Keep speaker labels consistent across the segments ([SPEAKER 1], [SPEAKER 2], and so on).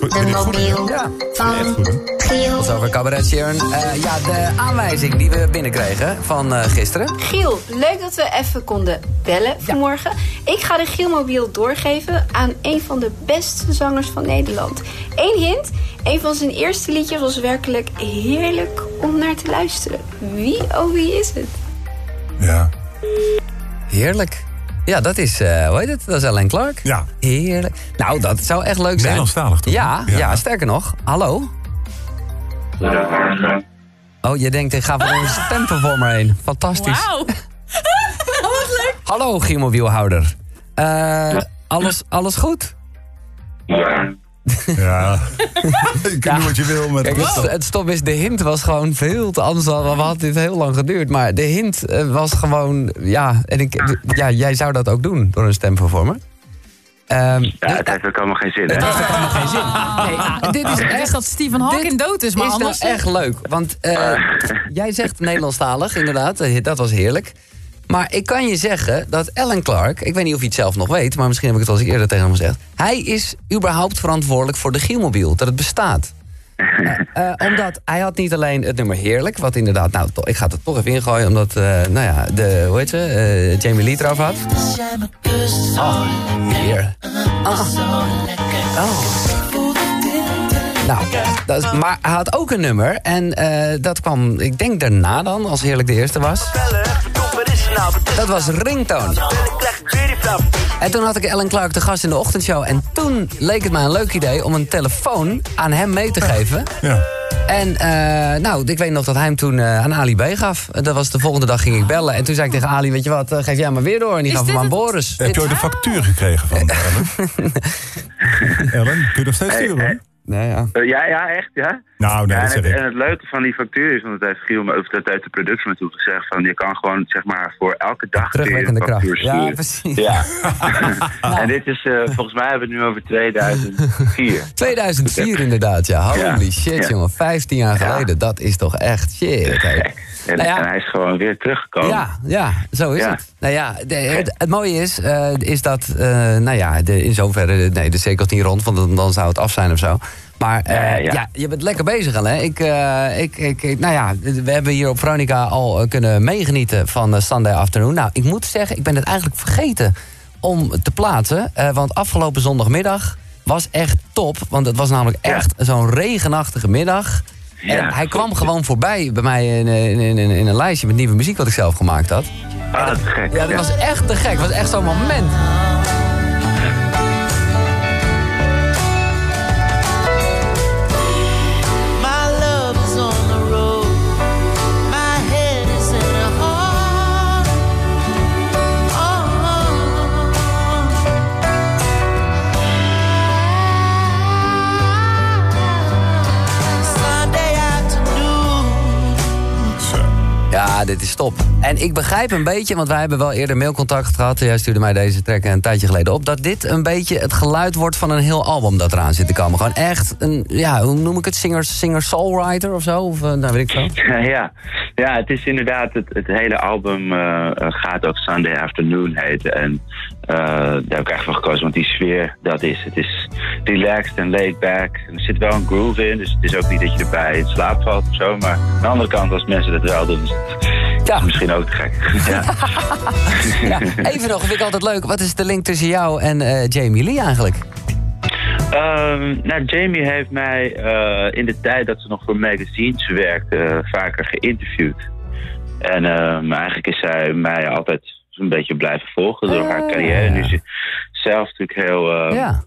[SPEAKER 1] de mobiel van Giel.
[SPEAKER 2] Tot zover Cabaret Sharon. Eh, ja, de aanwijzing die we binnenkregen van eh, gisteren.
[SPEAKER 3] Giel, leuk dat we even konden bellen vanmorgen. Ik ga de Gielmobiel doorgeven aan een van de beste zangers van Nederland. Eén hint, een van zijn eerste liedjes was werkelijk heerlijk om naar te luisteren. Wie, oh wie is het?
[SPEAKER 4] Ja.
[SPEAKER 2] Heerlijk. Ja, dat is, eh hoe heet het? Dat is Ellen Clark.
[SPEAKER 4] Ja.
[SPEAKER 2] Heerlijk. Nou, dat zou echt leuk zijn.
[SPEAKER 4] Nederlandstalig toch?
[SPEAKER 2] Ja, ja.
[SPEAKER 4] Ja.
[SPEAKER 2] sterker nog. Hallo? Oh, je denkt, ik ga voor een stemperformer heen. Fantastisch.
[SPEAKER 5] Wauw.
[SPEAKER 2] Hallo, Giemelwielhouder. Eh, alles, alles goed?
[SPEAKER 4] Ja. je kunt doen wat je wil met
[SPEAKER 2] Kijk, het, st- het stom is, de hint was gewoon veel te anders. dan- We hadden dit heel lang geduurd. Maar de hint eh, was gewoon, ja, en ik, d- ja, jij zou dat ook doen door een stemvervormer. Ehm
[SPEAKER 6] Ja, het heeft ook allemaal geen zin, hè?
[SPEAKER 5] Nee,
[SPEAKER 2] dit is
[SPEAKER 5] het is
[SPEAKER 2] echt
[SPEAKER 5] dat Stephen Hawking dood is, maar
[SPEAKER 2] is
[SPEAKER 5] anders...
[SPEAKER 2] nou echt leuk. Want eh, jij zegt Nederlandstalig, inderdaad. eh, Dat was heerlijk. Maar ik kan je zeggen dat Alan Clark... Ik weet niet of hij het zelf nog weet, maar misschien heb ik het al eens eerder tegen hem gezegd. Hij is überhaupt verantwoordelijk voor de Gielmobiel, dat het bestaat. Eh, eh, omdat hij had niet alleen het nummer Heerlijk, wat inderdaad... Nou, to- ik ga het er toch even ingooien, omdat, eh, nou ja, de, hoe heet ze? eh, Jamie Lee het eraf had. Oh, hier. Ah. Oh. Nou, dat, is- maar hij had ook een nummer. En eh, dat kwam, ik denk daarna dan, als Heerlijk de eerste was. Dat was Ringtone. En toen had ik Ellen Clark de gast in de ochtendshow. En toen leek het mij een leuk idee om een telefoon aan hem mee te geven.
[SPEAKER 4] Ja.
[SPEAKER 2] En eh, nou, ik weet nog dat hij hem toen eh, aan Ali B gaf. En Dat was de volgende dag ging ik bellen. En toen zei ik tegen Ali, weet je wat, eh, geef jij maar weer door. En die
[SPEAKER 5] Is
[SPEAKER 2] gaf hem
[SPEAKER 5] dit
[SPEAKER 2] aan
[SPEAKER 5] het-
[SPEAKER 2] Boris.
[SPEAKER 4] Heb je ooit de factuur gekregen van eh, Ellen? Ellen, kun je nog steeds sturen? hoor?
[SPEAKER 2] Nee, ja.
[SPEAKER 6] Eh, Ja, ja, echt, ja.
[SPEAKER 4] Nou, nee,
[SPEAKER 6] Ja,
[SPEAKER 4] dat
[SPEAKER 6] en,
[SPEAKER 4] zeg
[SPEAKER 6] het, en
[SPEAKER 4] ik.
[SPEAKER 6] het leuke van die factuur is, want dat heeft Giel, me- of dat heeft de productie me toe gezegd, van je kan gewoon zeg maar voor elke dag kun je
[SPEAKER 2] Terugwekkende
[SPEAKER 6] een factuur
[SPEAKER 2] kracht. Ja,
[SPEAKER 6] sturen.
[SPEAKER 2] precies.
[SPEAKER 6] Ja. en dit is, eh, volgens mij hebben we het nu over 2004.
[SPEAKER 2] 2004 inderdaad, ja. Holy
[SPEAKER 6] Ja.
[SPEAKER 2] shit,
[SPEAKER 6] Ja.
[SPEAKER 2] jongen. 15 jaar
[SPEAKER 6] Ja.
[SPEAKER 2] geleden. Dat is toch echt shit, hè.
[SPEAKER 6] En,
[SPEAKER 2] Nou ja.
[SPEAKER 6] en hij is gewoon weer teruggekomen.
[SPEAKER 2] Ja, ja, zo is
[SPEAKER 6] Ja.
[SPEAKER 2] het. Nou ja, de- het, het mooie is, eh, is dat, eh, nou ja, de, in zoverre, nee, de cirkel is niet rond, want dan, dan zou het af zijn of zo. Maar eh,
[SPEAKER 6] Nee,
[SPEAKER 2] ja.
[SPEAKER 6] ja.
[SPEAKER 2] je bent lekker bezig, Ellen. hè. Ik, eh, ik, ik, ik- nou ja, we hebben hier op Veronica al eh, kunnen meegenieten van eh, Sunday Afternoon. Nou, ik moet zeggen, ik ben het eigenlijk vergeten om te plaatsen. eh, want afgelopen zondagmiddag was echt top. Want het was namelijk
[SPEAKER 6] Ja.
[SPEAKER 2] echt zo'n regenachtige middag.
[SPEAKER 6] Ja,
[SPEAKER 2] en hij
[SPEAKER 6] goed.
[SPEAKER 2] kwam gewoon voorbij bij mij in, in, in, in een lijstje met nieuwe muziek wat ik zelf gemaakt had.
[SPEAKER 6] Ah, dat is gek.
[SPEAKER 2] Ja, dat was echt te gek. Het was echt zo'n moment.
[SPEAKER 7] My love is on the road. My head is in a heart. Uh-huh. Sunday afternoon.
[SPEAKER 2] Ja, dit is top. En ik begrijp een beetje, want wij hebben wel eerder mailcontact gehad. Jij stuurde mij deze track een tijdje geleden op. Dat dit een beetje het geluid wordt van een heel album dat eraan zit te komen. Gewoon echt een, ja, hoe noem ik het? Singer- Singer-songwriter of zo? Of, eh, nou, weet ik veel.
[SPEAKER 6] ja. ja, het is inderdaad, het, het hele album eh, eh, gaat ook Sunday Afternoon heten. En eh, daar heb ik echt voor gekozen, want die sfeer, dat is. Het is relaxed en laid back. En er zit wel een groove in, dus het is ook niet dat je erbij in slaap valt of zo. Maar aan de andere kant, als mensen dat wel doen, is het
[SPEAKER 2] Ja.
[SPEAKER 6] misschien ook te gek. Ja.
[SPEAKER 2] Ja, even nog, vind ik altijd leuk. Wat is de link tussen jou en eh, Jamie Lee eigenlijk?
[SPEAKER 6] Oh. Ehm, nou, Jamie heeft mij eh, in de tijd dat ze nog voor magazines werkte eh, vaker geïnterviewd. En ehm, eigenlijk is zij mij altijd een beetje blijven volgen door haar carrière. Nu is ze zelf natuurlijk heel... ehm, ja.
[SPEAKER 2] Oh,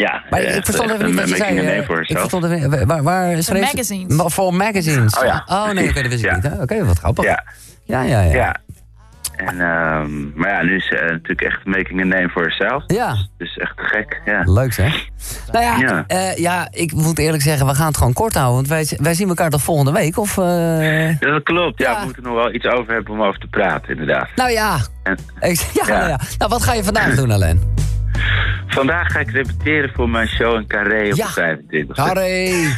[SPEAKER 2] Ja, maar ik-
[SPEAKER 6] echt-
[SPEAKER 2] ik verstond
[SPEAKER 6] echt
[SPEAKER 2] even niet wat je
[SPEAKER 6] een
[SPEAKER 2] zei.
[SPEAKER 6] making a name
[SPEAKER 2] eh,
[SPEAKER 6] voor
[SPEAKER 2] Ik
[SPEAKER 6] herself.
[SPEAKER 2] verstond even, wa- waar, waar schreef ze-
[SPEAKER 5] magazines.
[SPEAKER 2] Ma- Voor magazines.
[SPEAKER 6] Oh ja.
[SPEAKER 2] nee, oké, dat wist ik
[SPEAKER 6] Ja.
[SPEAKER 2] niet. hè. Oké, wat grappig.
[SPEAKER 6] Ja,
[SPEAKER 2] Ja, ja, ja.
[SPEAKER 6] ja. En, ehm, maar ja, nu is ze eh, natuurlijk echt making a name voor zichzelf.
[SPEAKER 2] Ja.
[SPEAKER 6] Dus echt gek, ja.
[SPEAKER 2] Leuk zeg. Nou ja,
[SPEAKER 6] Ja.
[SPEAKER 2] eh, ja, ik moet eerlijk zeggen, we gaan het gewoon kort houden. Want wij, wij zien elkaar toch volgende week? Of, eh,
[SPEAKER 6] Ja, Dat klopt, ja,
[SPEAKER 2] Ja.
[SPEAKER 6] we moeten nog wel iets over hebben om over te praten, inderdaad.
[SPEAKER 2] Nou ja.
[SPEAKER 6] En-
[SPEAKER 2] Ik, ja,
[SPEAKER 6] Ja.
[SPEAKER 2] Nou ja. Nou, wat ga je vandaag doen, Alain?
[SPEAKER 6] Vandaag ga ik repeteren voor mijn show in Carré op
[SPEAKER 2] Ja.
[SPEAKER 6] de 25
[SPEAKER 2] Harry.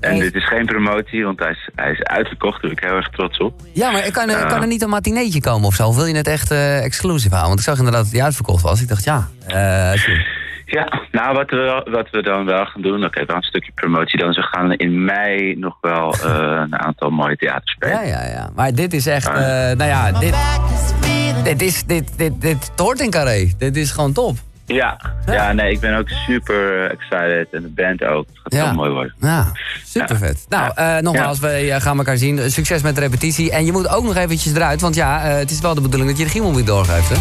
[SPEAKER 6] En dit is geen promotie, want hij is, hij is uitverkocht. Daar ben ik heel erg trots op.
[SPEAKER 2] Ja, maar kan, er-
[SPEAKER 6] Ja.
[SPEAKER 2] kan er niet een matineetje komen of zo? Of wil je het echt eh exclusief houden? Want ik zag inderdaad dat die uitverkocht was. Ik dacht, ja. eh, als je-
[SPEAKER 6] Ja, nou wat we, wat we dan wel gaan doen, oké, wel een stukje promotie dan. Ze gaan in mei nog wel eh, een aantal mooie theaters spelen.
[SPEAKER 2] Ja, ja, ja. Maar dit is echt, eh, nou ja, dit,
[SPEAKER 7] Back is feeling
[SPEAKER 2] dit, is, dit, dit, dit hoort in Carré. Dit is gewoon top.
[SPEAKER 6] Ja, ja, nee, ik ben ook super excited en de band ook. Het gaat
[SPEAKER 2] Ja.
[SPEAKER 6] heel mooi worden.
[SPEAKER 2] Ja, super vet. Nou, eh, nogmaals, we eh, gaan elkaar zien. Succes met de repetitie. En je moet ook nog eventjes eruit, want ja, eh, het is wel de bedoeling dat je de Giemel weer doorgeeft. Hè?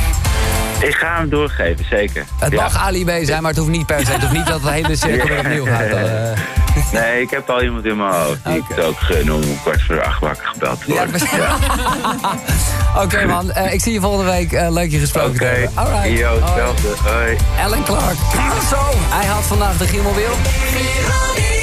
[SPEAKER 6] Ik ga hem doorgeven, zeker.
[SPEAKER 2] Het
[SPEAKER 6] Ja.
[SPEAKER 2] mag Ali B zijn, maar het hoeft niet per se. Het hoeft niet dat de hele cirkel weer opnieuw gaat. eh.
[SPEAKER 6] Nee, ik heb al iemand in mijn hoofd die ik
[SPEAKER 2] Oké.
[SPEAKER 6] het ook gun om om kwart voor acht wakker gebeld te
[SPEAKER 2] Ja,
[SPEAKER 6] worden.
[SPEAKER 2] precies. Oké man, Eh, ik zie je volgende week. Eh, leuk je gesproken te
[SPEAKER 6] Oké,
[SPEAKER 2] hebben. Alright.
[SPEAKER 6] yo,
[SPEAKER 2] Hoi.
[SPEAKER 6] hetzelfde. Hoi.
[SPEAKER 2] Alan Clark. Zo, hij had vandaag de Giemel weer op.
[SPEAKER 7] radio.